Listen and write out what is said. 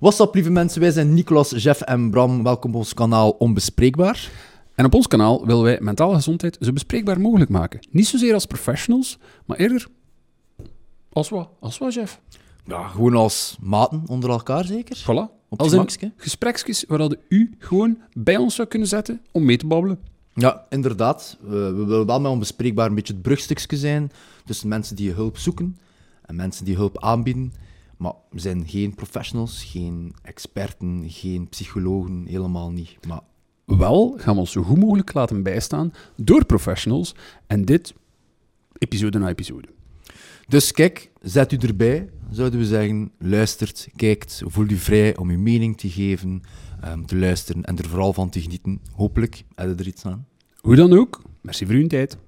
What's up, lieve mensen? Wij zijn Nicolas, Jeff en Bram. Welkom op ons kanaal Onbespreekbaar. En op ons kanaal willen wij mentale gezondheid zo bespreekbaar mogelijk maken. Niet zozeer als professionals, maar eerder als wat, als wat, Jeff. Ja, gewoon als maten onder elkaar, zeker? Voilà. Op als het gemakske. in gespreksjes waar dat u gewoon bij ons zou kunnen zetten om mee te babbelen. Ja, inderdaad. We, we willen wel met Onbespreekbaar een beetje het brugstukje zijn tussen mensen die hulp zoeken en mensen die hulp aanbieden. Maar we zijn geen professionals, geen experten, geen psychologen, helemaal niet. Maar Wel gaan we ons zo goed mogelijk laten bijstaan door professionals. En dit episode na episode. Dus kijk, zet u erbij, zouden we zeggen. Luistert, kijkt, voel u vrij om uw mening te geven, ehm, te luisteren en er vooral van te genieten. Hopelijk hebben we er iets aan. Hoe dan ook, merci voor uw tijd.